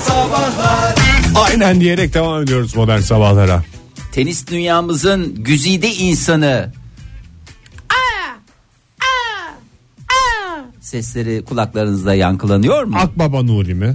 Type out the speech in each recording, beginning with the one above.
Sabahlar Aynen diyerek devam ediyoruz modern sabahlara. Tenis dünyamızın güzide insanı. Sesleri kulaklarınızda yankılanıyor mu? Akbaba Nuri mi?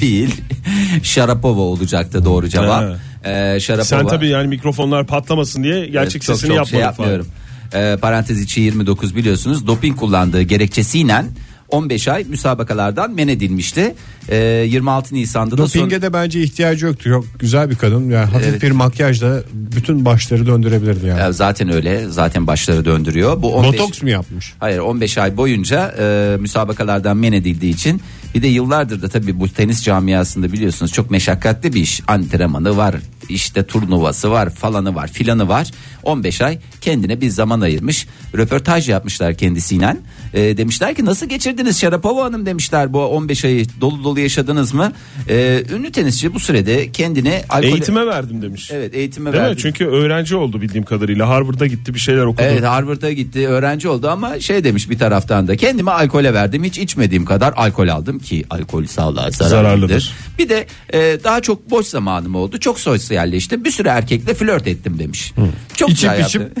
Değil. Şarapova olacaktı doğru cevap. Ha. Ee, Şarapova. Sen tabii yani mikrofonlar patlamasın diye gerçek çok, sesini çok şey yapmadın. yapmıyorum. Ee, parantez içi 29 biliyorsunuz doping kullandığı gerekçesiyle 15 ay müsabakalardan men edilmişti. Ee, 26 Nisan'da da son... Doping'e de bence ihtiyacı yoktu. Yok güzel bir kadın. Yani hafif Evet. bir makyajla bütün başları döndürebilirdi yani. Ya zaten öyle zaten başları döndürüyor. Bu 15... Botoks mu yapmış? Hayır 15 ay boyunca e, müsabakalardan men edildiği için bir de yıllardır da tabii bu tenis camiasında biliyorsunuz çok meşakkatli bir iş. Antrenmanı var işte turnuvası var falanı var filanı var. 15 ay kendine bir zaman ayırmış röportaj yapmışlar kendisiyle. E, demişler ki nasıl geçirdiniz Şarapova Hanım demişler bu 15 ayı dolu dolu yaşadınız mı? E, ünlü tenisçi bu sürede kendine alkol... Eğitime verdim demiş. Evet eğitime Değil mi? verdi. Çünkü öğrenci oldu bildiğim kadarıyla. Harvard'a gitti bir şeyler okudu. Evet Harvard'a gitti öğrenci oldu ama şey demiş bir taraftan da kendime alkole verdim hiç içmediğim kadar alkol aldım ki alkol sağlığa zararlıdır. Zararlıdır. Bir de e, daha çok boş zamanım oldu çok sosyalleştim bir sürü erkekle flört ettim demiş. Çok İçip güzel içip- yaptı.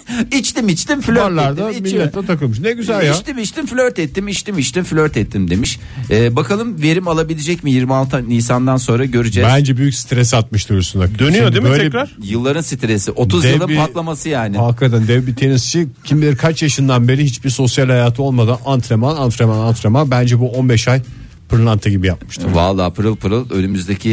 içtim içtim flört Barlarda ettim. içiyorum. milletle takılmış. Ne güzel ya. İçtim içtim flört ettim içtim içtim flört ettim demiş. E, bakalım verim alabilecek mi 26 Nisan'dan sonra göreceğiz. Bence büyük stres atmıştır üstüne. Dönüyor Şimdi değil mi böyle tekrar? Yılların stresi 30 Dev yılın bir- patlaması yani. Hakikaten dev bir tenisçi kim bilir kaç yaşından beri hiçbir sosyal hayatı olmadan antrenman antrenman antrenman bence bu 15 ay pırlanta gibi yapmıştır. Vallahi pırıl pırıl önümüzdeki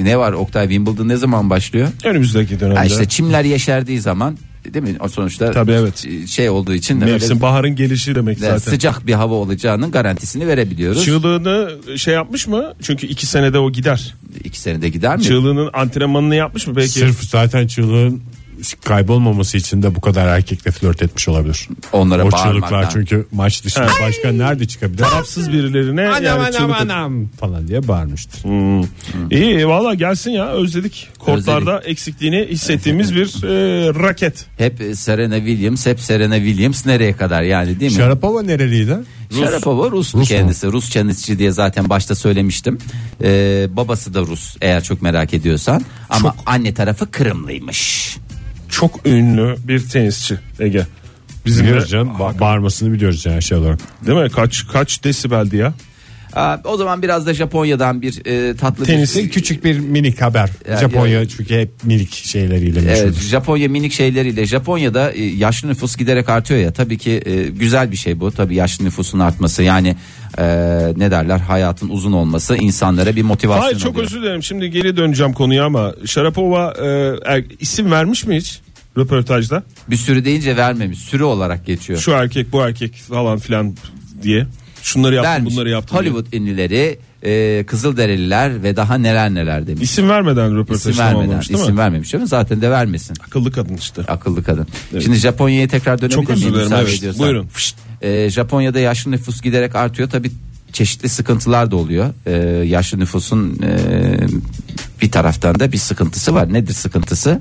e, ne var Oktay Wimbledon ne zaman başlıyor? Önümüzdeki dönemde. Ha işte çimler yeşerdiği zaman değil mi? O sonuçta Tabii, evet. şey olduğu için de Mevsim öyle- baharın gelişi demek de zaten. sıcak bir hava olacağının garantisini verebiliyoruz. Çığlığını şey yapmış mı? Çünkü iki senede o gider. İki senede gider mi? Çığlığının antrenmanını yapmış mı belki? Sırf zaten çığlığın kaybolmaması için de bu kadar erkekle flört etmiş olabilir. Onlara o bağırmaktan. çığlıklar çünky çünkü maç dışında başka nerede çıkabilir? Tarafsız birilerine yani çığlık atıyor. falan diye bağırmıştır. İyi valla gelsin ya özledik. Kortlarda eksikliğini hissettiğimiz bir e, raket. Hep e, Serena Williams, hep Serena Williams nereye kadar yani değil mi? Şarapova nereliydi? Şarapova Rus, Rus mu? kendisi. Rus tenisçi diye zaten başta söylemiştim. Ee, babası da Rus eğer çok merak ediyorsan. Ama anne tarafı Kırımlıymış. Çok ünlü bir tenisçi Ege. Bizim de- Biliyoruz canım. ba- bağırmasını biliyoruz yani şey olarak. Değil mi? Kaç kaç desibeldi ya? Aa, o zaman biraz da Japonya'dan bir e, tatlı Tenisi bir, Küçük bir minik haber. Ya- Japonya çünkü hep minik şeyleriyle Evet, meşhur. Japonya minik şeyleriyle Japonya'da e, yaşlı nüfus giderek artıyor ya tabii ki e, güzel bir şey bu tabii yaşlı nüfusun artması yani e, ne derler hayatın uzun olması insanlara bir motivasyon Hayır çok oluyor. özür dilerim. Şimdi geri döneceğim konuya ama Şarapova e, er- isim vermiş mi hiç röportajda? Bir sürü deyince vermemiş sürü olarak geçiyor. Şu erkek bu erkek falan filan diye. Şunları yaptım Vermiş. bunları yaptım. diye. Hollywood ünlüleri e, Kızılderililer ve daha neler neler demiş. İsim vermeden İsim röportajı vermeden tamamlamış değil isim mi? vermemiş değil mi? Zaten de vermesin. Akıllı kadın işte. Akıllı kadın. Şimdi Japonya'ya tekrar dönebilir Çok özür miyim? dilerim, Müsaade evet. ediyorsan. Buyurun. Ee, Japonya'da yaşlı nüfus giderek artıyor. Tabii çeşitli sıkıntılar da oluyor. Ee, yaşlı nüfusun e, bir taraftan da bir sıkıntısı var. Nedir sıkıntısı?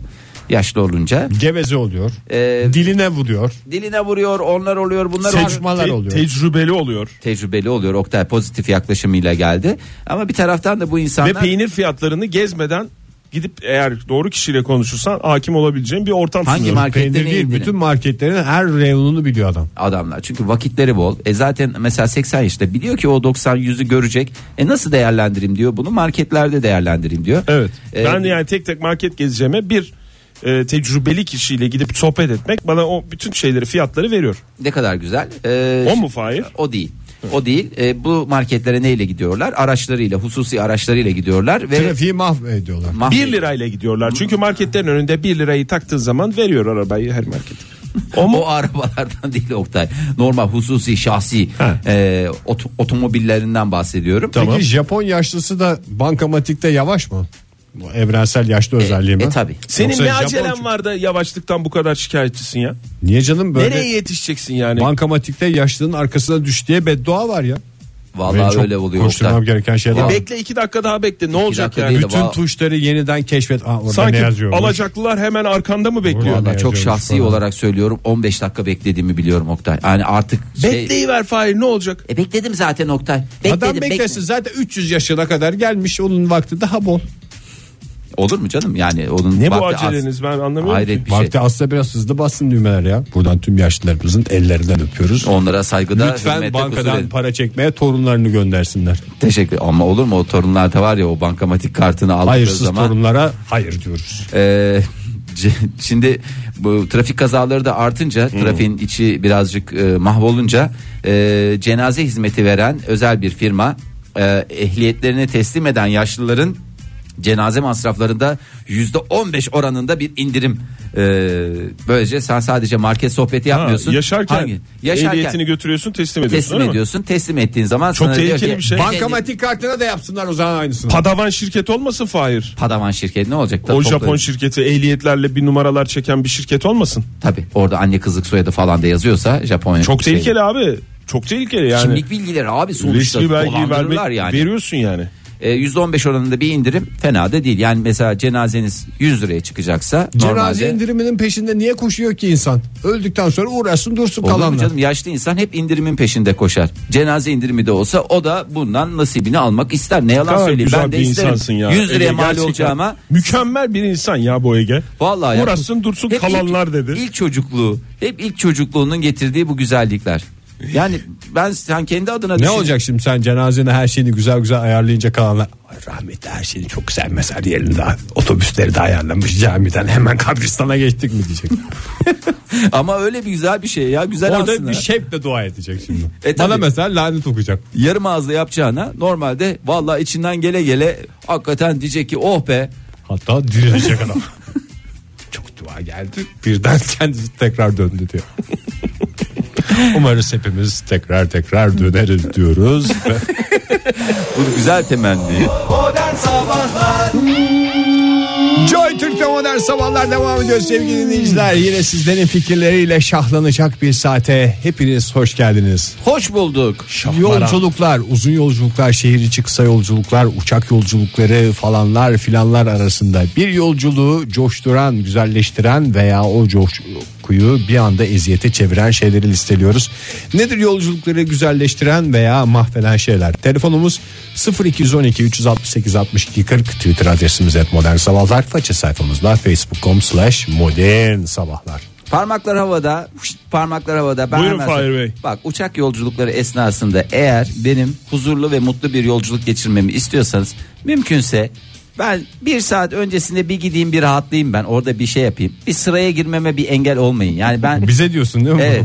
Yaşlı olunca Geveze oluyor. e, Diline vuruyor. diline vuruyor, onlar oluyor, bunlar oluyor. Saçmalar Te- oluyor. Tecrübeli oluyor. Tecrübeli oluyor. Oktay pozitif yaklaşımıyla geldi. Ama bir taraftan da bu Ve insanlar peynir fiyatlarını gezmeden gidip eğer doğru kişiyle konuşursan hakim olabileceğin bir ortam Hangi sunuyorum. market- marketten Peynir iyi değil bilir. bütün marketlerin her reyonunu biliyor adam. adamlar. Çünkü vakitleri bol. E zaten mesela 80 yaşında biliyor ki o 90 yüzü görecek. E nasıl değerlendireyim diyor. Bunu marketlerde değerlendireyim diyor. Evet. E, ben de yani tek tek market gezeceğime bir e, tecrübeli kişiyle gidip sohbet etmek bana o bütün şeyleri fiyatları veriyor. ne kadar güzel. E, O mu Fahir? O değil. O değil. E, bu marketlere neyle gidiyorlar? Araçlarıyla, hususi araçlarıyla gidiyorlar ve Trafiği mahvediyorlar. Mahve- 1 lirayla gidiyorlar. Çünkü marketlerin önünde 1 lirayı taktığın zaman veriyor arabayı her market. O mu? O arabalardan değil Oktay. Normal hususi şahsi Ha. e, ot- otomobillerinden bahsediyorum. Peki Japon yaşlısı da bankamatikte yavaş mı? Bu evrensel yaşlı özelliği mi? E tabi. Senin Yoksa ne Japon acelen çünkü- var da yavaşlıktan bu kadar şikayetçisin ya? Niye canım böyle Nereye yetişeceksin yani? bankamatikte yaşlının arkasına düş diye beddua var ya. Benim Vallahi çok öyle oluyor. Koşturmam Oktay. gereken şeyler var. Bekle iki dakika daha bekle. Ne olacak dakika yani? değil de Bütün Vallahi- tuşları yeniden keşfet. Aa, orada ne Sanki yazıyor? alacaklılar hemen arkanda mı bekliyor? Vallahi Vallahi çok yazıyormuş şahsi falan. olarak söylüyorum 15 dakika beklediğimi biliyorum Oktay. Yani artık şey- Bekleyiver Fahir ne olacak? E bekledim zaten Oktay. Bekledim, Adam beklesin bekledim. zaten 300 yaşına kadar gelmiş onun vakti daha bol. Olur mu canım yani onun Ne bu vakti az. aceleniz ben anlamıyorum Hayret ki. bir şey. Vakti aslında biraz hızlı bassın düğmeler ya. Buradan tüm yaşlılarımızın ellerinden öpüyoruz. Onlara saygıda Lütfen hürmette bankadan kusur edin. para çekmeye torunlarını göndersinler. Teşekkür ama olur mu o torunlarda var ya o bankamatik kartını aldığı Hayırsız zaman. torunlara hayır diyoruz. Ee, c- şimdi bu trafik kazaları da artınca trafiğin içi birazcık e, mahvolunca e, cenaze hizmeti veren özel bir firma e, ehliyetlerini teslim eden yaşlıların cenaze masraflarında yüzde 15 oranında bir indirim. E, böylece sen sadece market sohbeti Ha, yapmıyorsun. yaşarken, Hangi? Yaşarken ehliyetini götürüyorsun teslim ediyorsun teslim değil mi? ediyorsun. Teslim ettiğin zaman Çok sana diyor tehlikeli ki, bir şey. Bankamatik kartına da yapsınlar o zaman aynısını. Padavan şirket olmasın Fahir. Padavan şirketi ne olacak? O Toplarız. Japon şirketi ehliyetlerle bir numaralar çeken bir şirket olmasın. Tabii orada anne kızlık soyadı falan da yazıyorsa Japonya. Çok şey- tehlikeli abi. Çok tehlikeli yani. Kimlik bilgileri abi sonuçta Resmi belgeyi dolandırırlar vermek, yani. veriyorsun yani. E, %15 oranında bir indirim fena da değil. Yani mesela cenazeniz 100 liraya çıkacaksa Cenaze normalde indiriminin peşinde niye koşuyor ki insan? Öldükten sonra uğraşsın dursun Olur mu kalanlar. canım yaşlı insan hep indirimin peşinde koşar. Cenaze indirimi de olsa o da bundan nasibini almak ister. Ne yalan Kadar söyleyeyim güzel ben de bir isterim. insansın ya. 100 liraya Ege, mal gerçekten olacağıma Mükemmel bir insan ya bu Ege. Vallahi ya. Uğraşsın dursun Hep kalanlar ilk, dedi. İlk çocukluğu, hep ilk çocukluğunun getirdiği bu güzellikler. Yani ben sen kendi adına Ne düşün. olacak şimdi sen cenazene her şeyini güzel güzel ayarlayınca kalanlar? Ay rahmetli her şeyini çok güzel mezar yerinde otobüsleri de ayarlamış camiden hemen kabristana geçtik mi diyecek. Ama öyle bir güzel bir şey ya güzel Orada aslında. bir şevkle dua edecek şimdi. E, tabii. Bana mesela lanet okuyacak. yarım ağızla yapacağına normalde vallahi içinden gele gele hakikaten diyecek ki oh be Hatta dirilecek adam. çok dua geldi birden kendisi tekrar döndü diyor. Umarız hepimiz tekrar tekrar döneriz diyoruz. bu güzel temenni. Joy Türk'te modern sabahlar devam ediyor sevgili dinleyiciler. Yine sizlerin fikirleriyle şahlanacak bir saate hepiniz hoş geldiniz. Hoş bulduk. Yolculuklar, uzun yolculuklar, şehir içi kısa yolculuklar, uçak yolculukları falanlar filanlar arasında bir yolculuğu coşturan, güzelleştiren veya o coşkuyu bir anda eziyete çeviren şeyleri listeliyoruz. Nedir yolculukları güzelleştiren veya mahveden şeyler? Telefonumuz 0212 368 62 40 Twitter adresimiz et modern sabahlar. Faça sayfamızda facebook.com slash modern sabahlar. Parmaklar havada. Huşt, Parmaklar havada. Ben Buyurun hemen- Fahir Bey. Bak uçak yolculukları esnasında eğer benim huzurlu ve mutlu bir yolculuk geçirmemi istiyorsanız mümkünse ben bir saat öncesinde bir gideyim bir rahatlayayım ben orada bir şey yapayım. Bir sıraya girmeme bir engel olmayın. Yani ben Bize diyorsun değil mi? Evet.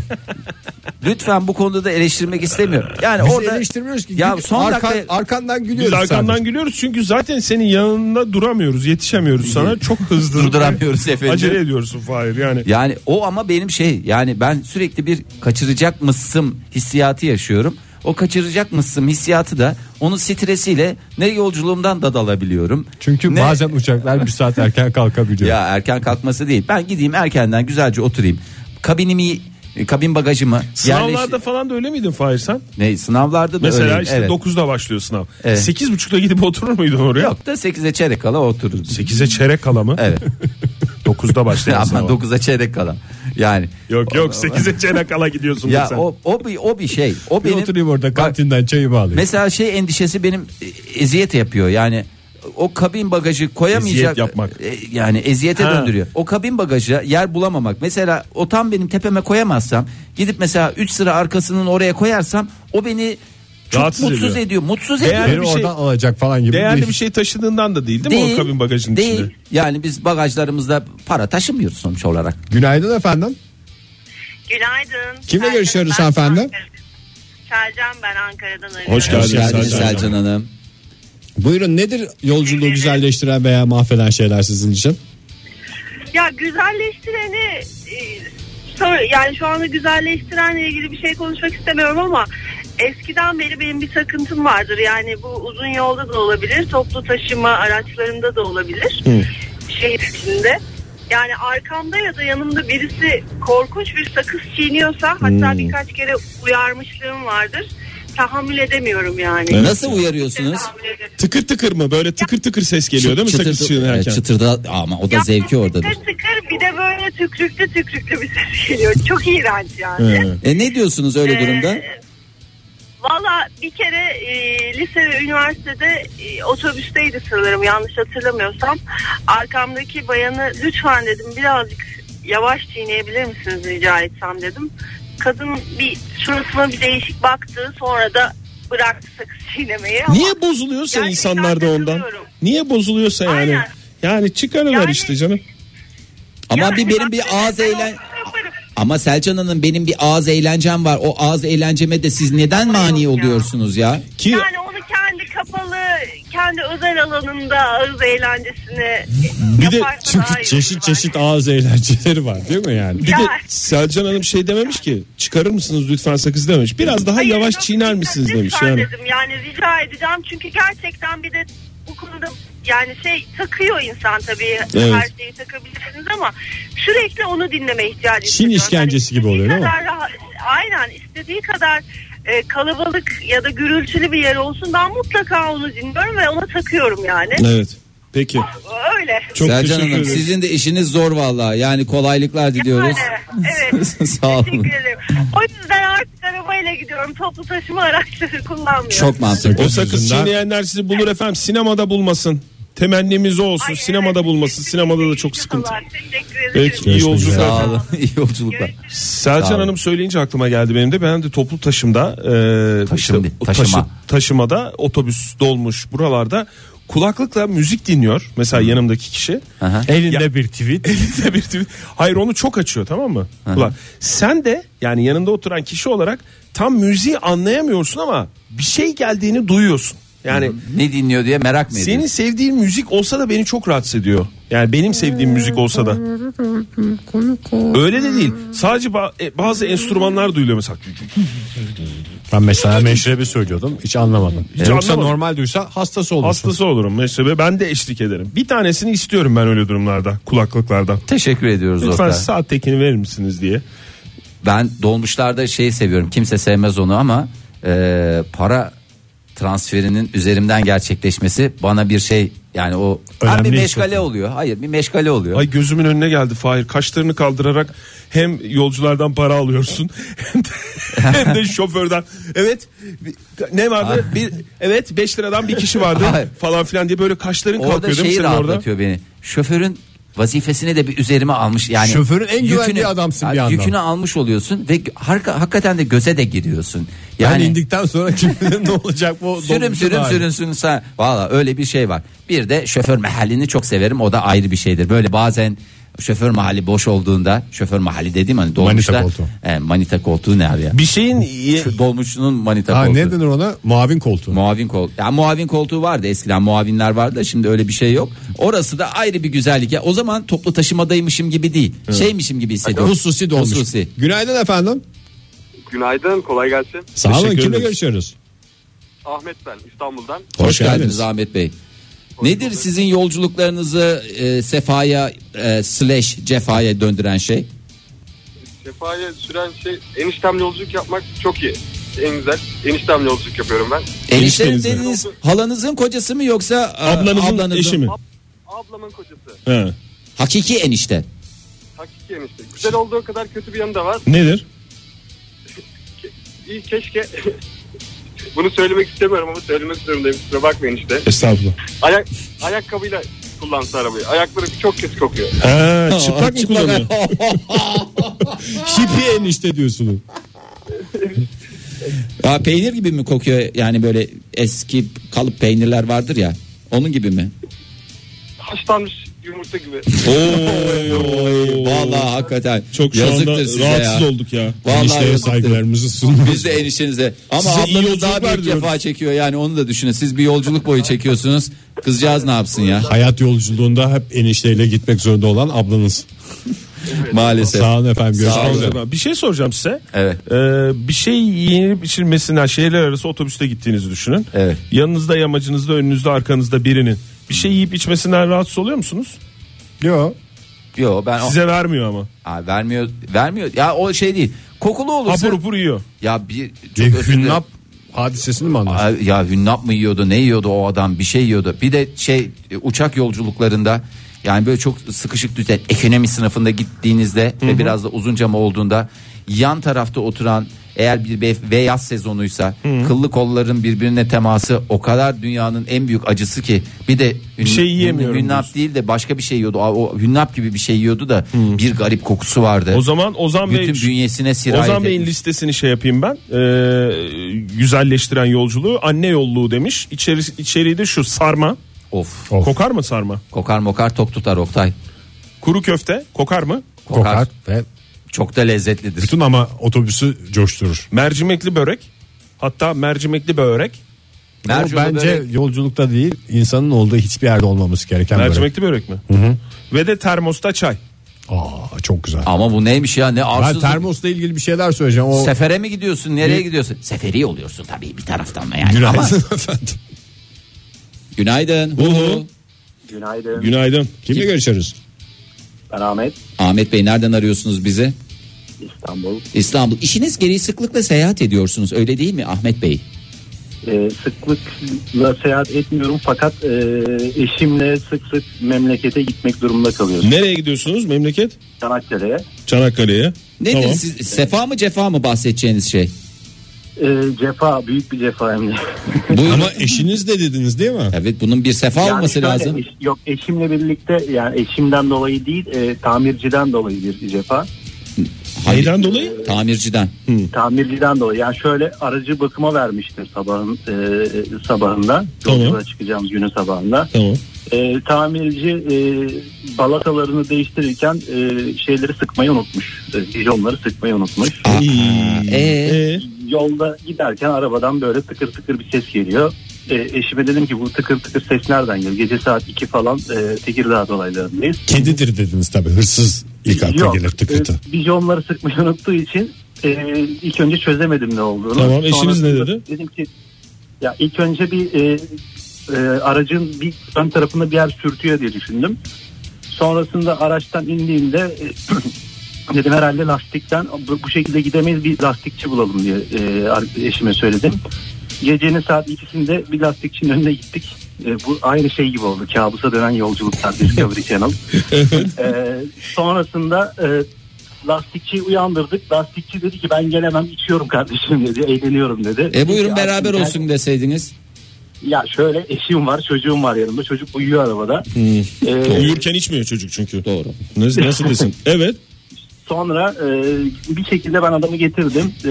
Lütfen bu konuda da eleştirmek istemiyorum. Yani Biz orada eleştirmiyoruz ki. Ya son Arkan- dakika arkandan gülüyoruz. Biz arkandan sadece. gülüyoruz çünkü zaten senin yanında duramıyoruz, yetişemiyoruz sana. Çok hızlı. Durduramıyoruz efendim. Acele ediyorsun Fahir yani. Yani o ama benim şey yani ben sürekli bir kaçıracak mısım hissiyatı yaşıyorum. O kaçıracak mısım hissiyatı da onun stresiyle ne yolculuğumdan da dalabiliyorum. Çünkü ne, bazen uçaklar bir saat erken kalkabiliyor. ya erken kalkması değil. Ben gideyim erkenden güzelce oturayım. Kabinimi kabin bagajımı Sınavlarda yerleştir- falan da öyle miydin Fahir sen? ne sınavlarda da Mesela öyleyim, işte evet. 9'da başlıyor sınav. Evet. 8.30'da gidip oturur muydun oraya? Yok da 8'e çeyrek kala otururdum. 8'e çeyrek kala mı? Evet. 9'da başlayan Ama sınava. 9'a çeyrek kala. Yani Yok yok 8'e çeyrek kala gidiyorsun ya sen. o o bir o bir şey. O Bir benim oturayım orada Bak, kantinden çayımı alayım. Mesela şey endişesi benim e- eziyet yapıyor. Yani o kabin bagajı koyamayacak Eziyet yapmak. e, yani eziyete Ha. döndürüyor. O kabin bagajı yer bulamamak. Mesela o tam benim tepeme koyamazsam gidip mesela 3 sıra arkasının oraya koyarsam o beni çok Rahatsız mutsuz ediyor. ediyor. Mutsuz Değer- ediyor. Beni değerli bir şey- oradan alacak falan gibi. Değerli bir- bir şey taşıdığından da değil değil, mi o kabin bagajının değil. içinde? Yani biz bagajlarımızda para taşımıyoruz sonuç olarak. Günaydın efendim. Günaydın. Kimle Selcan, görüşüyoruz ben hanımefendi? Ankara'dan. Selcan ben Ankara'dan arıyorum. Hoş geldin. Hoş geldiniz Selcan. Selcan Hanım. Buyurun nedir yolculuğu güzelleştiren veya mahveden şeyler sizin için? Ya güzelleştireni e, sor- yani şu anda güzelleştirenle ilgili bir şey konuşmak istemiyorum ama eskiden beri benim bir takıntım vardır. Yani bu uzun yolda da olabilir, toplu taşıma araçlarında da olabilir. Şehir içinde. Yani arkamda ya da yanımda birisi korkunç bir sakız çiğniyorsa hatta birkaç kere uyarmışlığım vardır. tahammül edemiyorum yani. Evet. Nasıl uyarıyorsunuz? Tahammül edemiyorum. Tıkır tıkır mı? Böyle tıkır tıkır ses geliyor değil mi? Çıtırtı- Sakız çiğnerken. Evet, çıtırda ama o da Ya, zevki oradadır. Tıkır tıkır bir de böyle tükrüklü tükrüklü bir ses geliyor. Çok iğrenç yani. Evet. E ne diyorsunuz öyle durumda? Valla bir kere e, lise ve üniversitede e, otobüsteydi sanırım yanlış hatırlamıyorsam. Arkamdaki bayanı lütfen dedim birazcık yavaş çiğneyebilir misiniz rica etsem dedim. Kadın bir suratıma bir değişik baktı sonra da bıraktı sakız çiğnemeyi. ama- Niye bozuluyorsa Gerçekten insanlar da ondan? katılıyorum. Niye bozuluyorsa yani? Aynen. Yani çıkarıver Yani- işte canım. Ama Yani bir benim bir bak, ağız ben eğlen olsam yaparım. ama Selcan Hanım benim bir ağız eğlencem var. O ağız eğlenceme de siz neden mani ya. oluyorsunuz ya? Ki Yani onu kendi kapalı, kendi özel alanında ağız eğlencesini Bir de yaparsa daha iyi çünkü olur çeşit çeşit bence. ağız eğlenceleri var değil mi yani? bir de Ya. Selcan Hanım şey dememiş ki çıkarır mısınız lütfen sakız dememiş. Biraz daha Hayır, yavaş yok, çiğner lütfen, misiniz demiş lütfen yani. dedim. Yani rica edeceğim çünkü gerçekten bir de bu konuda yani şey takıyor insan tabii Evet. her şeyi takabilirsiniz ama sürekli onu dinleme ihtiyacı Çin hissediyorum. işkencesi gibi istediği oluyor, değil mi? kadar rahat- aynen istediği kadar e, kalabalık ya da gürültülü bir yer olsun ben mutlaka onu dinliyorum ve ona takıyorum yani. Evet. Peki. Öyle. Çok Selcan teşekkür Hanım ederim. sizin de işiniz zor vallahi. Yani kolaylıklar diliyoruz. Yani, evet. Sağ olun. Teşekkür ederim. O yüzden artık arabayla gidiyorum. Toplu taşıma araçları kullanmıyorum. Çok mantıklı. O sakız Yüzünden- çiğneyenler sizi bulur efendim. Sinemada bulmasın. Temennimiz o olsun. Ay, Sinemada evet. bulmasın. Sinemada da çok Teşekkür sıkıntı. ederim. Teşekkür ederim. Peki iyi Görüşmek üzere. yolculuklar. Sağ efendim. olun. İyi yolculuklar. Sağ Selcan olun. Hanım söyleyince aklıma geldi benim de. Ben de toplu taşımda e, Taşım değil, o taşıma. taşımada otobüs dolmuş buralarda kulaklıkla müzik dinliyor. Mesela yanımdaki kişi. Aha. Elinde bir tweet. Elinde bir tweet. Hayır onu çok açıyor tamam mı? Ulan sen de yani yanında oturan kişi olarak tam müziği anlayamıyorsun ama bir şey geldiğini duyuyorsun. Yani Ne dinliyor diye merak mı senin ediyorsun? sevdiğin müzik olsa da beni çok rahatsız ediyor. Yani benim sevdiğim müzik olsa da. Öyle de değil. Sadece ba- e, bazı enstrümanlar duyuluyor mesela. Ben mesela meşrebi söylüyordum hiç anlamadım. Yoksa anlamadım. normal duysa hastası olursun. Hastası olurum meşrebe ben de eşlik ederim. Bir tanesini istiyorum ben öyle durumlarda kulaklıklardan. Teşekkür ediyoruz Lütfen Oktay. saat tekini verir misiniz diye. Ben dolmuşlarda şeyi seviyorum. Kimse sevmez onu ama e, para transferinin üzerimden gerçekleşmesi bana bir şey yani o hem Önemli bir iş meşgale oluyor. Hayır bir meşgale oluyor. Ay gözümün önüne geldi Fahir. Kaşlarını kaldırarak hem yolculardan para alıyorsun hem de, hem de şoförden. Evet bir- ne vardı? Bir, evet 5 liradan bir kişi vardı Hayır. falan filan diye böyle kaşların orada kalkıyor değil mi şeyi senin orada? rahatlatıyor beni. Şoförün vazifesini de bir üzerime almış yani. Şoförün en güvendiği yükünü- adamsın Ya, bir yandan. Yükünü almış oluyorsun ve harika, hakikaten de göze de giriyorsun. Ben Yani indikten sonra kim bilir ne olacak bu sürüm dolmuşun sürüm hali. sürüm sürüm sen. Valla öyle bir şey var. Bir de şoför mahallini çok severim. O da ayrı bir şeydir. Böyle bazen şoför mahalli boş olduğunda şoför mahalli dediğim hani dolmuşta. Manita koltuğu. E, manita koltuğu ne abi ya? Bir şeyin ye- Şu Dolmuşçunun manita Ha, koltuğu. ne denir ona? Muavin koltuğu. Muavin kol. Ya muavin koltuğu vardı eskiden muavinler vardı da şimdi öyle bir şey yok. Orası da ayrı bir güzellik. Ya o zaman toplu taşımadaymışım gibi değil. Şeymişim gibi hissediyorum. Hususi dolmuş. Hususi. Günaydın efendim. Günaydın, kolay gelsin. Sağ olun Teşekkür kimle ederiz. görüşüyoruz? Ahmet ben, İstanbul'dan. Hoş, geldiniz. Ahmet Bey. Nedir sizin yolculuklarınızı e, sefaya e, slash cefaya döndüren şey? Sefa'ya süren şey eniştem yolculuk yapmak çok iyi. En güzel. Eniştem yolculuk yapıyorum ben. Enişteniz Eniştenizle. dediniz halanızın kocası mı yoksa e, ablanızın, eşi mi? Ab- ablamın kocası. He. Hakiki enişte. Hakiki enişte. Güzel olduğu kadar kötü bir yanı da var. Nedir? İyi keşke. Bunu söylemek istemiyorum ama söylemek zorundayım. Kusura bakmayın işte. Estağfurullah. Ayak, ayakkabıyla kullansa arabayı. Ayakları çok kötü kokuyor. He, çıplak mı Çıplak- kullanıyor? Hippie enişte diyorsunuz. Ya peynir gibi mi kokuyor yani böyle eski kalıp peynirler vardır ya onun gibi mi? Haşlanmış yumurta gibi. Oo. Vallahi hakikaten Çok şu anda yazıktır size rahatsız ya. olduk ya. Vallahi Enişteye yazıktır. saygılarımızı sunuyoruz. Biz de eniştenize. Ama Size iyi ablanız daha yolculuklar büyük diyoruz. cefa çekiyor yani onu da düşünün. Siz bir yolculuk boyu çekiyorsunuz. Kızcağız ne yapsın ya Hayat yolculuğunda hep enişteyle gitmek zorunda olan ablanız. maalesef. Sağ olun efendim. Sağ Görüşmek olun. üzere. Hocam, Bir şey soracağım size. Evet. Ee, bir şey yenilip içilmesinden şehirler arası otobüste gittiğinizi düşünün. Evet. Yanınızda, yamacınızda, önünüzde, arkanızda birinin bir şey yiyip içmesinden rahatsız oluyor musunuz? Yok. Yo ben o- Size vermiyor ama. Aa, vermiyor vermiyor. Ya o şey değil. Kokulu olursa Hapur hapur yiyor. ya bir Bir hünnap hadisesini mi anlarsın? Ay, Ya hünnap mı yiyordu ne yiyordu o adam bir şey yiyordu. Bir de şey e, uçak yolculuklarında yani böyle çok sıkışık düzen ekonomi sınıfında gittiğinizde ve biraz da uzunca mı olduğunda yan tarafta oturan eğer bir bef- ve yaz sezonuysa kıllı kolların birbirine teması o kadar dünyanın en büyük acısı ki bir de hün- şey yiyemiyorum hünnap diyorsun. değil de başka bir şey yiyordu. Aa, O hünnap gibi bir şey yiyordu da bir garip kokusu vardı. O zaman Ozan Bey bütün bünyesine sirayet Ozan Bey'in etmiş. listesini şey yapayım ben. Ee, güzelleştiren yolculuğu anne yolluğu demiş. İçeri, içeriği de şu sarma. Of. Kokar mı sarma? Kokar mokar tok tutar Oktay. Kuru köfte kokar mı? Kokar ve Çok da lezzetlidir. bütün ama otobüsü coşturur. Mercimekli börek. Hatta mercimekli börek. Ama Mercimek bence börek- yolculukta değil insanın olduğu hiçbir yerde olmaması gereken böyle. Mercimekli börek mi? Ve de termosta çay. Aa çok güzel. Ama bu neymiş ya ne ben arsızlık. termosla ilgili bir şeyler söyleyeceğim. O Sefere mi gidiyorsun nereye gidiyorsun? Seferi oluyorsun tabii bir taraftan da yani. Ama... günaydın efendim. Günaydın. Uhu. Günaydın. Günaydın. Kimle görüşürüz? Ben Ahmet. Ahmet Bey nereden arıyorsunuz bizi? İstanbul. İstanbul. İşiniz gereği sıklıkla seyahat ediyorsunuz öyle değil mi Ahmet Bey? Ee, sıklıkla seyahat etmiyorum fakat e, eşimle sık sık memlekete gitmek durumunda kalıyoruz. Nereye gidiyorsunuz memleket? Çanakkale'ye. Çanakkale'ye. Nedir Tamam. siz sefa mı cefa mı bahsedeceğiniz şey? Ee, cefa, büyük bir cefa hem de. Buyurun. eşiniz de dediniz değil mi? Evet bunun bir sefa Yani olması şöyle, lazım. eş- yok eşimle birlikte yani eşimden dolayı değil e, tamirciden dolayı bir cefa. Hayır, Neyden dolayı? Tamirciden. Tamirciden dolayı yani şöyle aracı bakıma vermiştir sabahın e, sabahında. Tamam. Yolculuğa çıkacağımız günün sabahında. Tamam. E, tamirci e, balatalarını değiştirirken e, şeyleri sıkmayı unutmuş. E, Vizyonları sıkmayı unutmuş. Aa, Hmm. Ee, ee, Ee, Yolda giderken arabadan böyle tıkır tıkır bir ses geliyor. E, eşime dedim ki bu tıkır tıkır ses nereden geliyor? Gece saat 2 falan e, Tekirdağ dolaylarındayız. Kedidir dediniz tabii hırsız ilk akla Yok, gelir tıkırtı. e, vizyonları sıkmayı unuttuğu için e, ilk önce çözemedim ne olduğunu. Tamam, eşiniz Sonrasında ne dedi? Dedim ki ya ilk önce bir e, e, aracın bir ön tarafında bir yer sürtüyor diye düşündüm. Sonrasında araçtan indiğimde e, dedim herhalde lastikten bu, bu şekilde gidemeyiz bir lastikçi bulalım diye e, ar- eşime söyledim. Gecenin saat ikisinde bir lastikçinin önüne gittik. E, bu aynı şey gibi oldu. Kabusa dönen yolculuklar Discovery Channel. E, sonrasında e, lastikçiyi uyandırdık. Lastikçi dedi ki ben gelemem içiyorum kardeşim dedi. Eğleniyorum dedi. Ee, e buyurun Ya, beraber yani- olsun deseydiniz. Ya şöyle eşim var çocuğum var yanımda. Çocuk uyuyor arabada. E, uyurken içmiyor çocuk çünkü. Doğru. Nasıl, nasıl desin? Evet. Sonra e, bir şekilde ben adamı getirdim. E,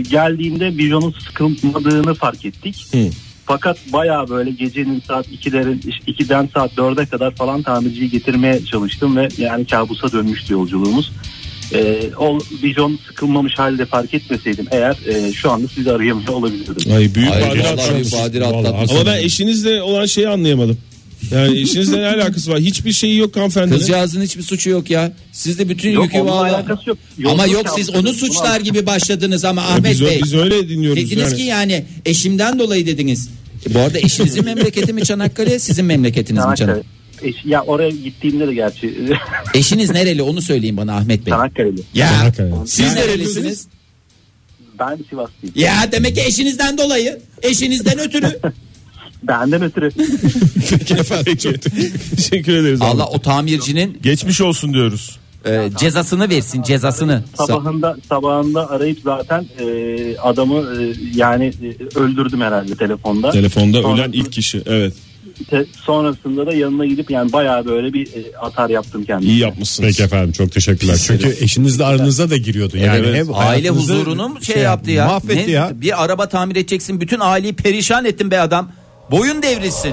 geldiğinde vizyonun sıkılmadığını fark ettik. Hı. Fakat baya böyle gecenin saat 2'lerin 2'den saat 4'e kadar falan tamirciyi getirmeye çalıştım ve yani kabusa dönmüştü yolculuğumuz. E, o vizyon sıkılmamış halde fark etmeseydim eğer e, şu anda sizi arayamıyor olabilirdim. Ay büyük Ay, badire vallahi atlatmışsın. büyük badire Vallahi atlatmışsın. Ama ben eşinizle olan şeyi anlayamadım. Yani eşinizle ne alakası var? Hiçbir şeyi yok hanımefendinin. Kızcağızın hiçbir suçu yok ya. Siz de bütün Yok, yükü onunla valla. alakası yok. Ama Yolculuk yok siz yaptınız, onu şey bunu suçlar aldım. gibi başladınız ama Ya Ahmet biz, Bey. biz öyle dinliyoruz Dediniz yani. ki yani eşimden dolayı dediniz. E, Bu arada eşinizin memleketi mi Çanakkale sizin memleketiniz mi Çanakkale. Çanakkale? Eş- ya oraya gittiğimde de gerçi Eşiniz nereli onu söyleyin bana Ahmet Bey. Çanakkale'de. Ya Çanakkale. siz Siz nerelisiniz? nerelisiniz? Ben Sivaslıyım. Ya demek ki eşinizden dolayı. Eşinizden ötürü. Benden ötürü. Çok teşekkür ederiz. abi. Allah o tamircinin Geçmiş olsun diyoruz. e, cezasını versin cezasını. Sa- sabahında sabahında arayıp zaten e, adamı e, yani e, öldürdüm herhalde telefonda. Telefonda Sonrasında- ölen ilk kişi. Evet. te- sonrasında da yanına gidip yani bayağı böyle bir e, atar yaptım kendime. İyi yapmışsınız. Peki efendim çok teşekkürler. Çünkü eşinizle aranıza da giriyordu. Yani Evet. hem Aile hayatınızı huzurunu mu şey yaptı ya? Mahvetti Ne- ya. Bir araba tamir edeceksin bütün aileyi perişan ettin be adam. Boyun devrilsin.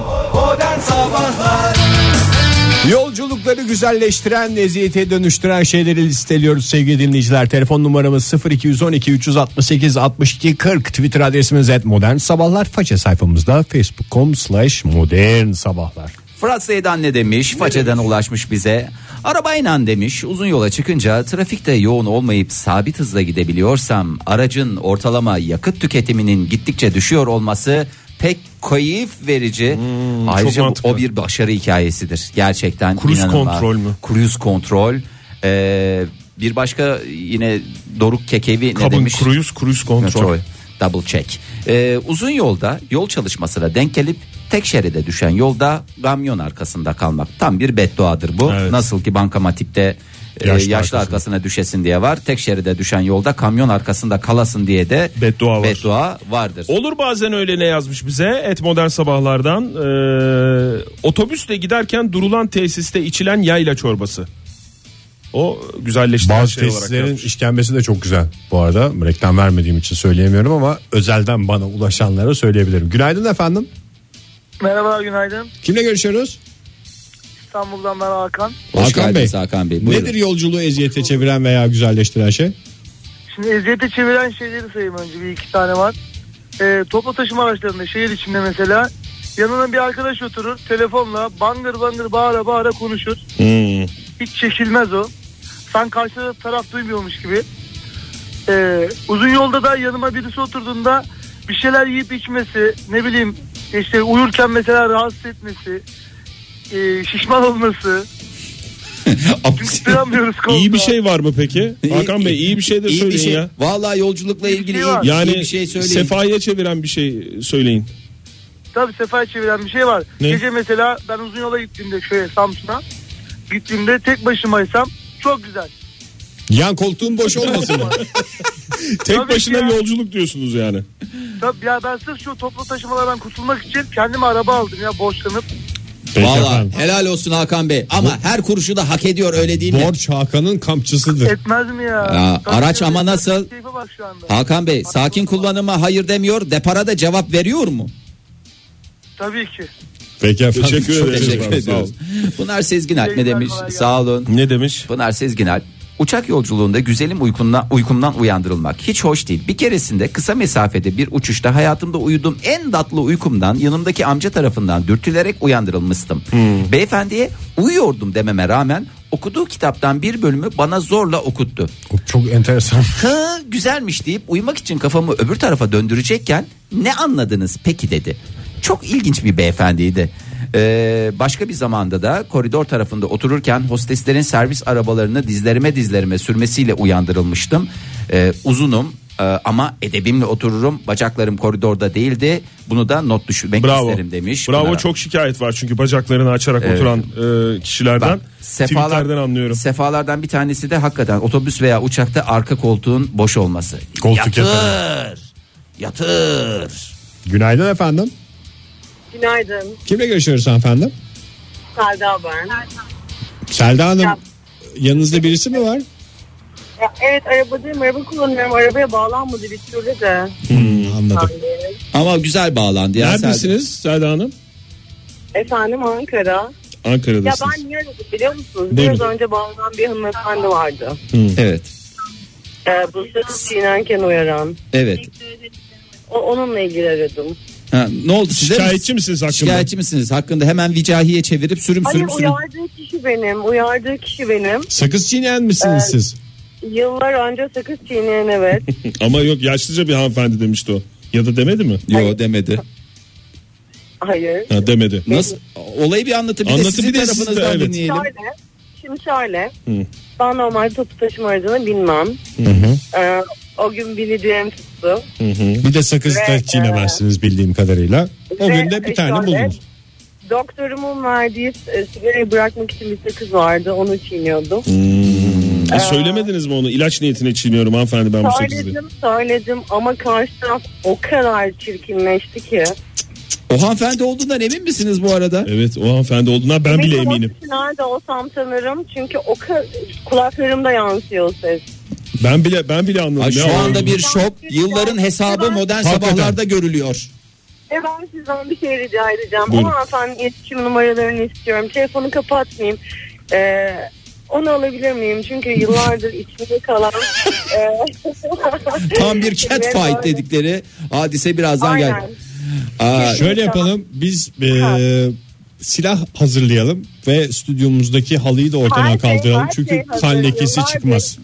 Yolculukları güzelleştiren, eziyete dönüştüren şeyleri listeliyoruz sevgili dinleyiciler. Telefon numaramız 0212 368 62 40. Twitter adresimiz et modern sabahlar. Faça sayfamızda facebook.com slash modern sabahlar. Fransa'dan ne demiş? Façeden ulaşmış bize. Arabayla demiş. Uzun yola çıkınca trafikte yoğun olmayıp sabit hızla gidebiliyorsam aracın ortalama yakıt tüketiminin gittikçe düşüyor olması pek keyif verici. Ayrıca bu- Hmm, mantıklı. o bir başarı hikayesidir. Gerçekten Cruise inanılmaz. kontrol mü? Cruise kontrol. Ee, bir başka yine Doruk Kekevi ne Kabın demiş? kruyuz kruyuz kontrol. Kontrol. double check. Ee, uzun yolda yol çalışmasına denk gelip tek şeride düşen yolda kamyon arkasında kalmak tam bir bedduadır bu. Evet. Nasıl ki bankamatikte e, Yaşlı yaşlı arkasında. arkasına düşesin diye var. Tek şeride düşen yolda kamyon arkasında kalasın diye de Beddua var. beddua vardır. Olur bazen öyle ne yazmış bize et modern sabahlardan Ee, otobüsle giderken durulan tesiste içilen yayla çorbası. O güzelleştiren Bazı şey olarak tesislerin yazmış. işkembesi de çok güzel. Bu arada reklam vermediğim için söyleyemiyorum ama özelden bana ulaşanlara söyleyebilirim. Günaydın efendim. Merhaba günaydın. Kimle görüşüyoruz? İstanbul'dan ben Hakan. Hoş Hakan geldiniz Bey. Hakan Bey. Buyurun. Nedir yolculuğu eziyete çeviren veya güzelleştiren şey? Şimdi eziyete çeviren şeyleri sayayım önce bir iki tane var. Ee, toplu taşıma araçlarında şehir içinde mesela yanına bir arkadaş oturur telefonla bangır bangır bağıra bağıra konuşur. Hmm. Hiç çekilmez o. Sen karşı taraf duymuyormuş gibi. Ee, uzun yolda da yanıma birisi oturduğunda bir şeyler yiyip içmesi ne bileyim işte uyurken mesela rahatsız etmesi e, şişman olması çünkü duramıyoruz İyi bir koltuğa. şey var mı peki? Hakan Bey iyi bir şey de İyi bir söyleyin şey. ya. Vallahi yolculukla ilgili şey iyi- var. iyi, Yani bir şey söyleyin. sefaya çeviren bir şey söyleyin. Tabii sefer çeviren bir şey var. Ne? Gece mesela ben uzun yola gittiğimde şöyle Samsun'a gittiğimde tek başımaysam çok güzel. Yan koltuğun boş olmasın mı? Tek Tabii ki başına ya. yolculuk diyorsunuz yani. Tabii ya ben sırf şu toplu taşımalardan kurtulmak için kendime araba aldım ya borçlanıp. Vallahi helal olsun Hakan Bey. Ama her kuruşu da hak ediyor öyle değil mi? Borç Hakan'ın kampçısıdır. Etmez mi ya? Ya, Tabii araç ki. ama nasıl? Keyfe bak şu anda. Hakan Bey sakin kullanıma hayır demiyor. Depara da cevap veriyor mu? Tabii ki. Peki efendim. Teşekkür Çok ederim. Evet, Teşekkür efendim, ediyoruz. sağ Pınar Sezgin Alp ne Teşekkürler, demiş? kolay gelsin. Sağ olun. Ne demiş? Pınar Sezgin Alp. Uçak yolculuğunda güzelim uykumdan, uykumdan uyandırılmak hiç hoş değil. Bir keresinde kısa mesafede bir uçuşta hayatımda uyuduğum en tatlı uykumdan yanımdaki amca tarafından dürtülerek uyandırılmıştım. Beyefendiye uyuyordum dememe rağmen okuduğu kitaptan bir bölümü bana zorla okuttu. Çok enteresan. Hı güzelmiş deyip uyumak için kafamı öbür tarafa döndürecekken ne anladınız peki dedi. Çok ilginç bir beyefendiydi. Ee, başka bir zamanda da koridor tarafında otururken hosteslerin servis arabalarını dizlerime dizlerime sürmesiyle uyandırılmıştım. Ee, uzunum e, ama edebimle otururum bacaklarım koridorda değildi bunu da not düşürmek Bravo. isterim demiş. Bravo Bunlara. çok şikayet var çünkü bacaklarını açarak oturan e, kişilerden Bak, sefalar- Twitter'den anlıyorum. Sefalardan bir tanesi de hakikaten otobüs veya uçakta arka koltuğun boş olması. Koltuk yatır. Yatır. Günaydın efendim. Günaydın. Kimle görüşüyoruz efendim? Selda ben. Selda Hanım. Yanınızda birisi mi var? Ya, evet arabadayım. Araba kullanıyorum. Arabaya bağlanmadı bir türlü de. Hmm. Anladım. Yani. Ama güzel bağlandı ya. Neredesiniz Selda Hanım? Efendim Ankara. Ya Ankara'dasınız. ben niye aradım biliyor musunuz? Buyurun. Biraz önce bağlanan bir hanımefendi vardı. Selda. Evet. Ee, bu sırtı çiğnenken uyaran. Evet. O, onunla ilgili aradım. Ha, ne oldu size? Şikayetçi misiniz hakkında? Şikayetçi misiniz? Hakkında hemen vicahiye çevirip sürüm Hayır sürüm sürüm. Hani uyardığı kişi benim. Uyardığı kişi benim. Sakız çiğneyen misiniz Ee, siz? Yıllar önce sakız çiğneyen evet. Ama yok yaşlıca bir hanımefendi demişti o. Ya da demedi mi? Yo demedi. Hayır. Ha, demedi. Nasıl? Olayı bir anlatın bir de Anlatın sizin bir de siz de, tarafınızdan evet. dinleyelim. Şöyle. Şimdi şöyle. Ben normalde toplu taşıma aracını binmem. Ee, o gün bineceğim tuttu. Bir de sakız Ve, da çiğnemezsiniz bildiğim kadarıyla. O Ve gün de bir tane şöyle, buldunuz. Doktorumun verdiği e, sigarayı bırakmak için bir sakız vardı. Onu çiğniyordum. Ee, E, söylemediniz mi onu? İlaç niyetine çiğniyorum hanımefendi ben bu sakızı. diye. Söyledim söyledim ama karşı taraf o kadar çirkinleşti ki. O hanımefendi olduğundan emin misiniz bu arada? Evet o hanımefendi olduğuna ben bile Neyse, o eminim. sesi Nerede olsam tanırım çünkü o ka- kulaklarımda yansıyor o ses. Ben bile ben bile anladım. Ay, ya şu o anda olduğunu. bir şok. Yılların hesabı modern Hakikaten. sabahlarda görülüyor. E ben sizden bir şey rica edeceğim. Buyurun. O hanımefendi iletişim numaralarını istiyorum. Telefonu kapatmayayım. Ee, onu alabilir miyim? Çünkü yıllardır içimde kalan... e, Tam bir cat ve fight böyle- dedikleri hadise birazdan Aynen. geldi. Aa, şey Şöyle yapalım biz e, silah hazırlayalım ve stüdyomuzdaki halıyı da ortadan Her şey, kaldıralım. her Çünkü şey kan hazır. lekesi Yıllardır- çıkmaz.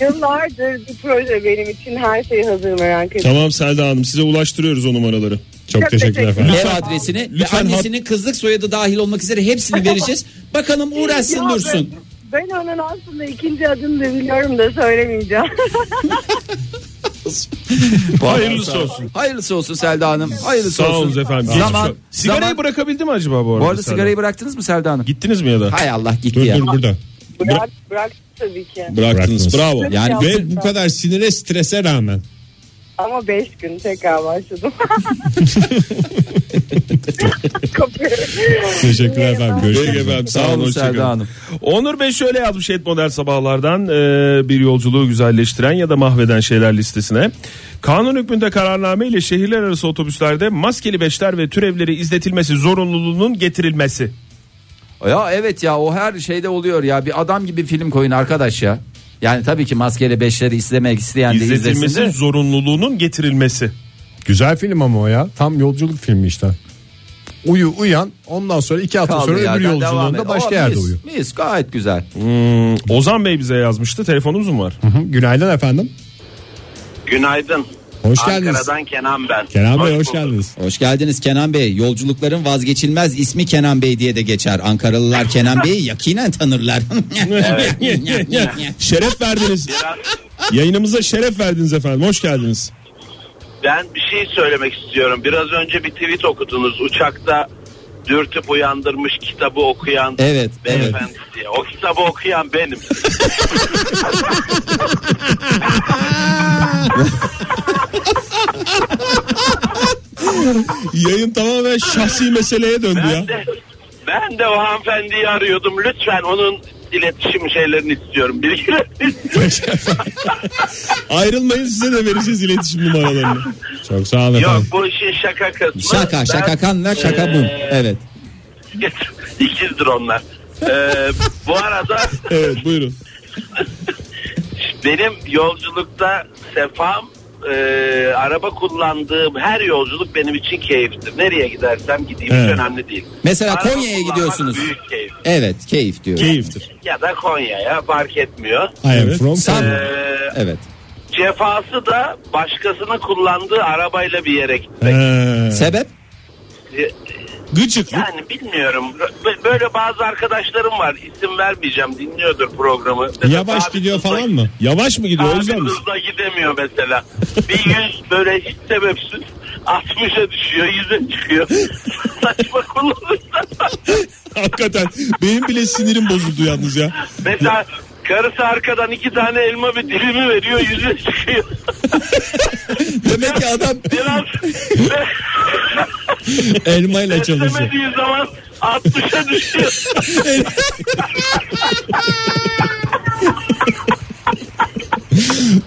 Yıllardır bir proje benim için her şeyi hazır merak ediyorum. Tamam Selda Hanım size ulaştırıyoruz o numaraları. Çok, Çok teşekkürler teşekkür efendim. ev adresini lütfen ve annesinin kızlık soyadı dahil olmak üzere hepsini vereceğiz. Bakalım uğraşsın Ya ben- dursun. Ben onun aslında ikinci adını da biliyorum da söylemeyeceğim. Hayırlısı olsun. Hayırlısı olsun Selda Hanım. Hayırlısı Sağ olsun. olun efendim. Geçmiş Zaman, olsun. Sigarayı zaman- bırakabildi mi acaba bu arada? Bu arada Serdar? sigarayı bıraktınız mı Selda Hanım? Gittiniz mi ya da? Hay Allah gitti Dur ya. dur burada. Bırak, bırak tabii ki. Bıraktınız. Bıraktınız. Bravo. Yani Ve bu kadar sinire strese rağmen. Ama 5 gün tekrar başladım. Kapıyorum. Teşekkürler efendim. Peki Görüşmek üzere. efendim. Sağ Sağ olun. olun Selda Hoşçakalın. Hanım. Onur Bey şöyle yazmış et model sabahlardan e, bir yolculuğu güzelleştiren ya da mahveden şeyler listesine. Kanun hükmünde kararname ile şehirler arası otobüslerde maskeli beşler ve türevleri izletilmesi zorunluluğunun getirilmesi. Ya evet ya o her şeyde oluyor ya. Bir adam gibi film koyun arkadaş ya. Yani tabii ki maskeyle beşleri izlemek isteyen de izlesin İzletilmesi de. zorunluluğunun getirilmesi. Güzel film ama o ya. Tam yolculuk filmi işte. Uyu uyan ondan sonra iki hafta Kaldığı sonra öbür yerden devam yolculuğunda et. başka Aa, yerde mis, uyu. Mis gayet güzel. Hmm, Ozan Bey bize yazmıştı. Telefonumuz mu var? Hı hı. Günaydın efendim. Günaydın. Hoş geldiniz. Ankara'dan Kenan ben. Kenan Bey hoş bulduk. geldiniz. Hoş geldiniz Kenan Bey. Yolculukların vazgeçilmez ismi Kenan Bey diye de geçer. Ankaralılar Kenan Bey'i yakinen tanırlar. şeref verdiniz. Yayınımıza şeref verdiniz efendim. Hoş geldiniz. Ben bir şey söylemek istiyorum. Biraz önce bir tweet okudunuz. Uçakta dürtüp uyandırmış kitabı okuyan Evet, beyefendi diye. O kitabı okuyan benim. Yayın tamamen şahsi meseleye döndü Ben de, ben de o hanımefendiyi arıyordum. Lütfen onun iletişim şeylerini istiyorum. Bilgilerini istiyorum. Ayrılmayın size de vereceğiz iletişim numaralarını. Çok sağ olun Yok efendim. bu işin şaka kısmı. Ben- Ee, kanla şaka bu. Evet. İkizdir onlar. Ee, bu arada Evet buyurun. Benim yolculukta sefam e, araba kullandığım her yolculuk benim için keyiftir. Nereye gidersem gideyim hiç Evet. önemli değil. Mesela Araba Konya'ya kullanmak gidiyorsunuz. Büyük keyif. Evet keyif diyor. Keyiftir. Ya da Konya'ya fark etmiyor. I am Evet. from Sam- Ee, Evet. cefası da başkasının kullandığı arabayla bir yere gitmek. Sebep? Gıcıklık. Yani bilmiyorum. Bö- Böyle bazı arkadaşlarım var. İsim vermeyeceğim. Dinliyordur programı. Mesela Yavaş abi gidiyor hızla- falan mı? Yavaş mı gidiyor o Abi yüzden mi? hızla gidemiyor mesela. Bir yüz böyle hiç sebepsiz 60'a düşüyor, 100'e çıkıyor. Saçma kullanırsa. Hakikaten benim bile sinirim bozuldu yalnız ya. Mesela karısı arkadan iki tane elma bir dilimi veriyor, 100'e çıkıyor. Demek ki adam Biraz Elmayla çalışıyor. istemediği zaman 60'a düşüyor.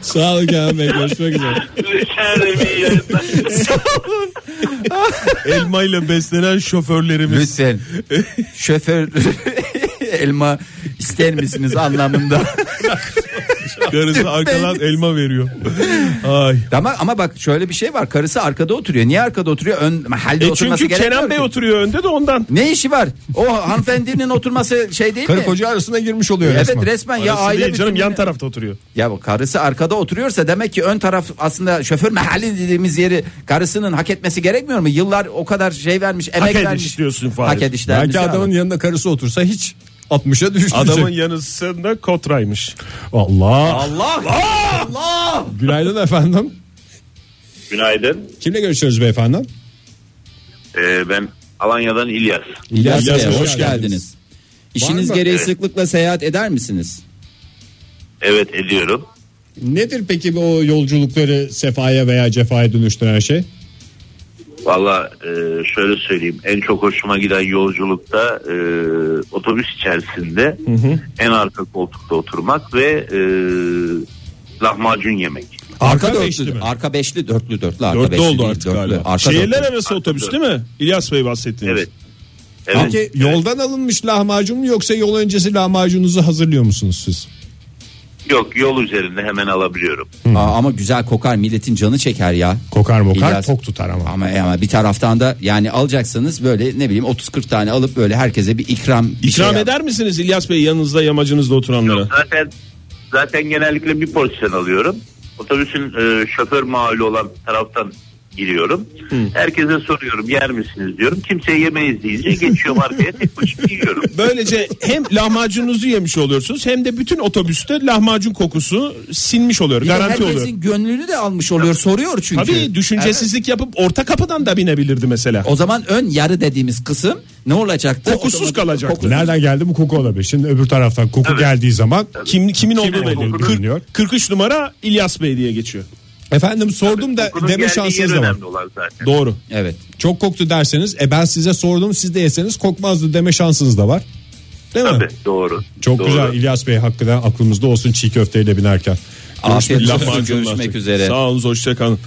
Sağ olun Kenan Bey görüşmek üzere. Rica ederim, iyi yayınlar. Elmayla beslenen şoförlerimiz. lütfen şoför elma ister misiniz anlamında. Karısı arkadan elma veriyor. Ay. ama ama bak şöyle bir şey var. Karısı arkada oturuyor. Niye arkada oturuyor? Ön halde E oturması çünkü gerekmiyor. Kenan Bey ki. oturuyor önde de ondan. Ne işi var? O hanımefendinin oturması şey değil mi? Karı koca arasına girmiş oluyor Evet resmen. resmen, ya Arası aile değil canım bütünlüğüne- yan tarafta oturuyor. Ya bu karısı arkada oturuyorsa demek ki ön taraf aslında şoför mahalli dediğimiz yeri karısının hak etmesi gerekmiyor mu? Yıllar o kadar şey vermiş, emek ediş vermiş. diyorsun Fahir. Hak ediş Belki dermişler ama. adamın yanında karısı otursa hiç 60'a düşmeyecek. Adamın yanısında kotraymış. Allah. Allah Allah. Günaydın efendim. Günaydın. Kimle görüşüyoruz beyefendi? Ee, ben Alanya'dan İlyas. İlyas, İlyas Bey Bey, hoş hoş geldiniz. İşiniz mı? gereği Evet. sıklıkla seyahat eder misiniz? Evet ediyorum. Nedir peki bu o yolculukları sefaya veya cefaya dönüştüren şey? Valla e, şöyle söyleyeyim en çok hoşuma giden yolculukta e, otobüs içerisinde en arka koltukta oturmak ve e, lahmacun yemek. Arka, beşli dörtlü, mi? arka beşli, dörtlü, dörtlü, arka Dörtte beşli oldu değil, artık dörtlü, galiba. Arka Şehirler dörtlü. arası otobüs değil mi? İlyas Bey bahsettiğiniz. Evet. Evet. Peki yoldan alınmış lahmacun mu yoksa yol öncesi lahmacununuzu hazırlıyor musunuz siz? Yok yol üzerinde hemen alabiliyorum. Aa, ama güzel kokar milletin canı çeker ya. Kokar mokar İlyas- tok tutar ama. Ama, e, ama bir taraftan da yani alacaksanız böyle ne bileyim 30-40 tane alıp böyle herkese bir ikram bir İkram şey yap- eder misiniz İlyas Bey yanınızda yamacınızda oturanlara? Zaten zaten genellikle bir porsiyon alıyorum. Otobüsün e, şoför mahalli olan taraftan giriyorum. Herkese soruyorum yer misiniz diyorum. Kimse yemeyiz deyince geçiyorum arkaya tek başıma yiyorum. Böylece hem lahmacununuzu yemiş oluyorsunuz hem de bütün otobüste lahmacun kokusu sinmiş oluyor. Bir de garanti herkesin oluyor. gönlünü de almış oluyor soruyor çünkü. Tabii düşüncesizlik yapıp orta kapıdan da binebilirdi mesela. O zaman ön yarı dediğimiz kısım ne olacaktı? Kokusuz Otomatik- kalacaktı. Koku- Nereden geldi bu koku olabilir? Şimdi öbür taraftan koku geldiği zaman Kim kimin olduğu belli. olduğunu bilmiyor. 40, 43 numara İlyas Bey diye geçiyor. efendim sordum da Bunun deme geldiği yer şansınız da var. önemli olan zaten. Doğru. Evet. Çok koktu derseniz e ben size sordum siz de yeseniz kokmazdı deme şansınız da var. Değil mi? Tabii, doğru. Çok Doğru. güzel İlyas Bey hakikaten aklımızda olsun çiğ köfteyle binerken. Afiyet olsun. Lahmacunlar. Görüşmek üzere. Sağ olun hoşçakalın.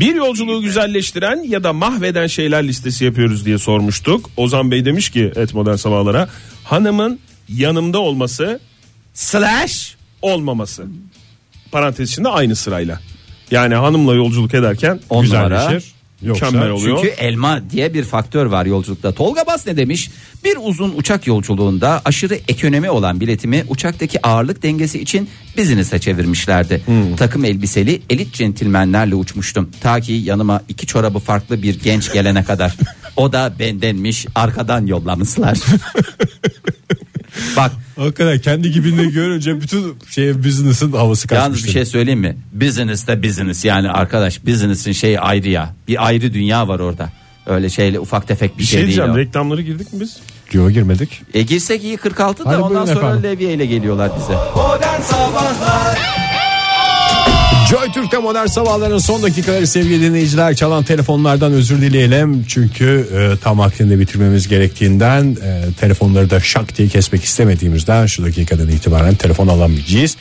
Bir yolculuğu güzelleştiren ya da mahveden şeyler listesi yapıyoruz diye sormuştuk. Ozan Bey demiş ki et modern sabahlara hanımın yanımda olması Slash. olmaması. Parantez içinde aynı sırayla. Yani hanımla yolculuk ederken On numara. güzelleşir. Yoksa- Mükemmel oluyor. Çünkü elma diye bir faktör var yolculukta. Tolga Bas ne demiş? Bir uzun uçak yolculuğunda aşırı ekonomi olan biletimi uçaktaki ağırlık dengesi için business'e çevirmişlerdi. Takım elbiseli elit centilmenlerle uçmuştum. Ta ki yanıma iki çorabı farklı bir genç gelene kadar. O da bendenmiş arkadan yollamışlar. Bak Hakikaten kendi gibini görünce bütün şey business'ın havası kaçmıştır. Yalnız bir şey söyleyeyim mi? Business de business yani arkadaş business'in şeyi ayrı ya. Bir ayrı dünya var orada. Öyle şeyle ufak tefek bir, Bir şey değil. diyeceğim o. reklamları girdik mi biz? Yo, girmedik. E girsek iyi 46 da Hadi ondan buyurun sonra efendim. levye ile geliyorlar bize. Joy Türk'te modern sabahların son dakikaları sevgili dinleyiciler çalan telefonlardan özür dileyelim. Çünkü e, tam vaktinde bitirmemiz gerektiğinden e, telefonları da şak diye kesmek istemediğimizden şu dakikadan itibaren telefon alamayacağız.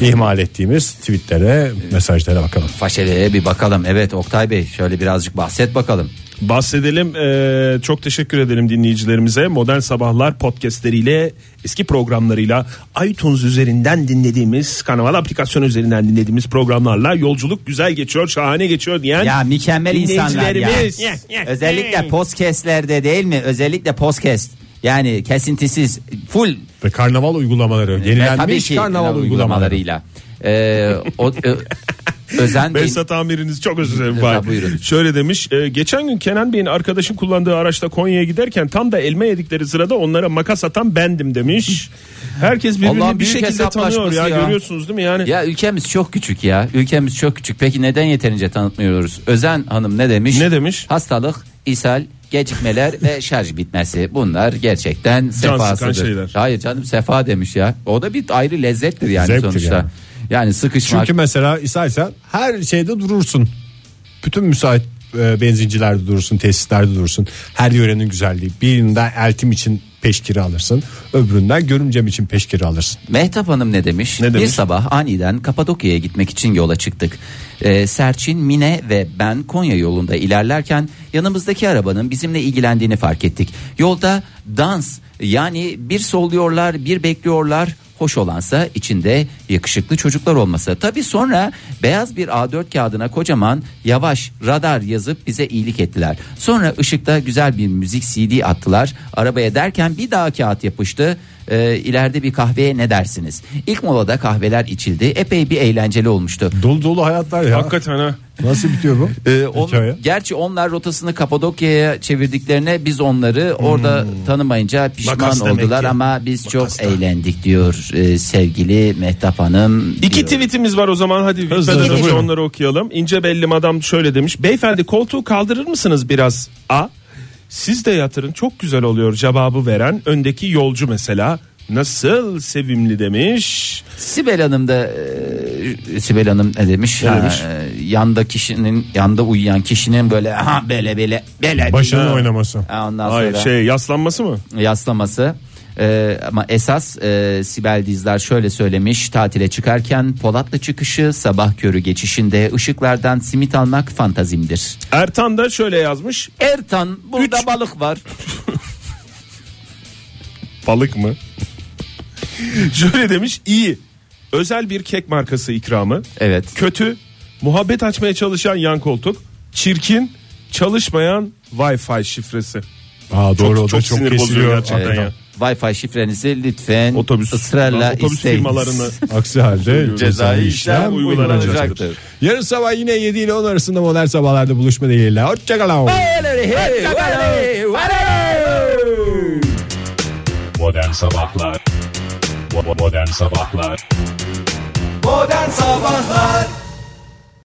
İhmal ettiğimiz tweetlere mesajlara bakalım. Faşelere bir bakalım. Evet Oktay Bey şöyle birazcık bahset bakalım. Bahsedelim. Ee, çok teşekkür edelim dinleyicilerimize. Modern Sabahlar podcastleriyle, eski programlarıyla, iTunes üzerinden dinlediğimiz, kanal aplikasyonu üzerinden dinlediğimiz programlarla yolculuk güzel geçiyor, şahane geçiyor diyen Ya mükemmel insanlar ya. dinleyicilerimiz. Özellikle podcastlerde değil mi? Özellikle podcast. Yani kesintisiz full Ve karnaval uygulamaları Ve tabii yenilenmiş ki karnaval kanal uygulamaları. uygulamalarıyla. Ee, o, ö- Özen Bey- Behzat amiriniz çok özür dilerim. Lütfen, Fahir. buyurun. Şöyle demiş. e, geçen gün Kenan Bey'in arkadaşın kullandığı araçta Konya'ya giderken tam da elma yedikleri sırada onlara makas atan bendim demiş. Herkes birbirini Allah'ın bir büyük şekilde tanıyor hesaplaşması ya, ya. görüyorsunuz değil mi yani? Ya ülkemiz çok küçük ya. Ülkemiz çok küçük. Peki neden yeterince tanıtmıyoruz? Özen Hanım ne demiş? Ne demiş? Hastalık, ishal, gecikmeler ve şarj bitmesi. Bunlar gerçekten sıkan sefasıdır. şeyler. Hayır canım sefa demiş ya. O da bir ayrı lezzettir yani Zevktir sonuçta. Yani, yani. sıkışmak. Çünkü mesela istersen her şeyde durursun. Bütün müsait e, benzincilerde durursun, tesislerde durursun. Her yörenin güzelliği. Birinden eltim için peşkiri alırsın. Öbüründen görümcem için peşkiri alırsın. Mehtap Hanım ne demiş? Ne demiş? Bir sabah aniden Kapadokya'ya gitmek için yola çıktık. Ee, Serçin, Mine ve ben Konya yolunda ilerlerken yanımızdaki arabanın bizimle ilgilendiğini fark ettik. Yolda dans yani bir solluyorlar bir bekliyorlar. Hoş olansa içinde yakışıklı çocuklar olması. Tabi sonra beyaz bir A4 kağıdına kocaman yavaş radar yazıp bize iyilik ettiler. Sonra ışıkta güzel bir müzik CD attılar. Arabaya derken bir daha kağıt yapıştı. Ee, ileride bir kahveye ne dersiniz? İlk molada kahveler içildi. Epey bir eğlenceli olmuştu. Dolu dolu hayatlar ya. Hakikaten ha. Nasıl bitiyor bu? Ee, on- Hikaye. gerçi onlar rotasını Kapadokya'ya çevirdiklerine biz onları orada tanımayınca pişman Hmm. Makas demek oldular ki. ama biz Makas çok da. eğlendik diyor e, sevgili Mehtap Hanım. İki diyor. tweetimiz var o zaman hadi bitmeden hızlı, önce buyurun. onları okuyalım. İnce belli adam şöyle demiş. Beyefendi koltuğu kaldırır mısınız biraz? A. Siz de yatırın çok güzel oluyor cevabı veren öndeki yolcu mesela. Nasıl sevimli demiş. Sibel Hanım da e, Sibel Hanım ne demiş? Ne Ha, demiş? e, yanda kişinin yanda uyuyan kişinin böyle ha böyle böyle böyle Başının oynaması. Ha, ondan Hayır sonra şey yaslanması mı? yaslaması. Ee, ama esas e, Sibel Dizler şöyle söylemiş tatile çıkarken Polatlı çıkışı sabah körü geçişinde ışıklardan simit almak fantazimdir. Ertan da şöyle yazmış. Ertan burada Üç. balık var. Balık mı? şöyle demiş. iyi. Özel bir kek markası ikramı. Evet. Kötü. Muhabbet açmaya çalışan yan koltuk. Çirkin. Çalışmayan Wi-Fi şifresi. Aa, doğru o da çok, sinir bozuyor kesiliyor. gerçekten Evet. ya. Wi-Fi şifrenizi lütfen Otobüs- ısrarla otobüs isteyiniz. firmalarını- Aksi halde cezai işlem uygulanacaktır. uygulanacaktır. Yarın sabah yine 7 ile 10 arasında modern sabahlarda buluşma dileğiyle. Hoşçakalın. Modern Sabahlar Bo- bo- Modern Sabahlar Modern Sabahlar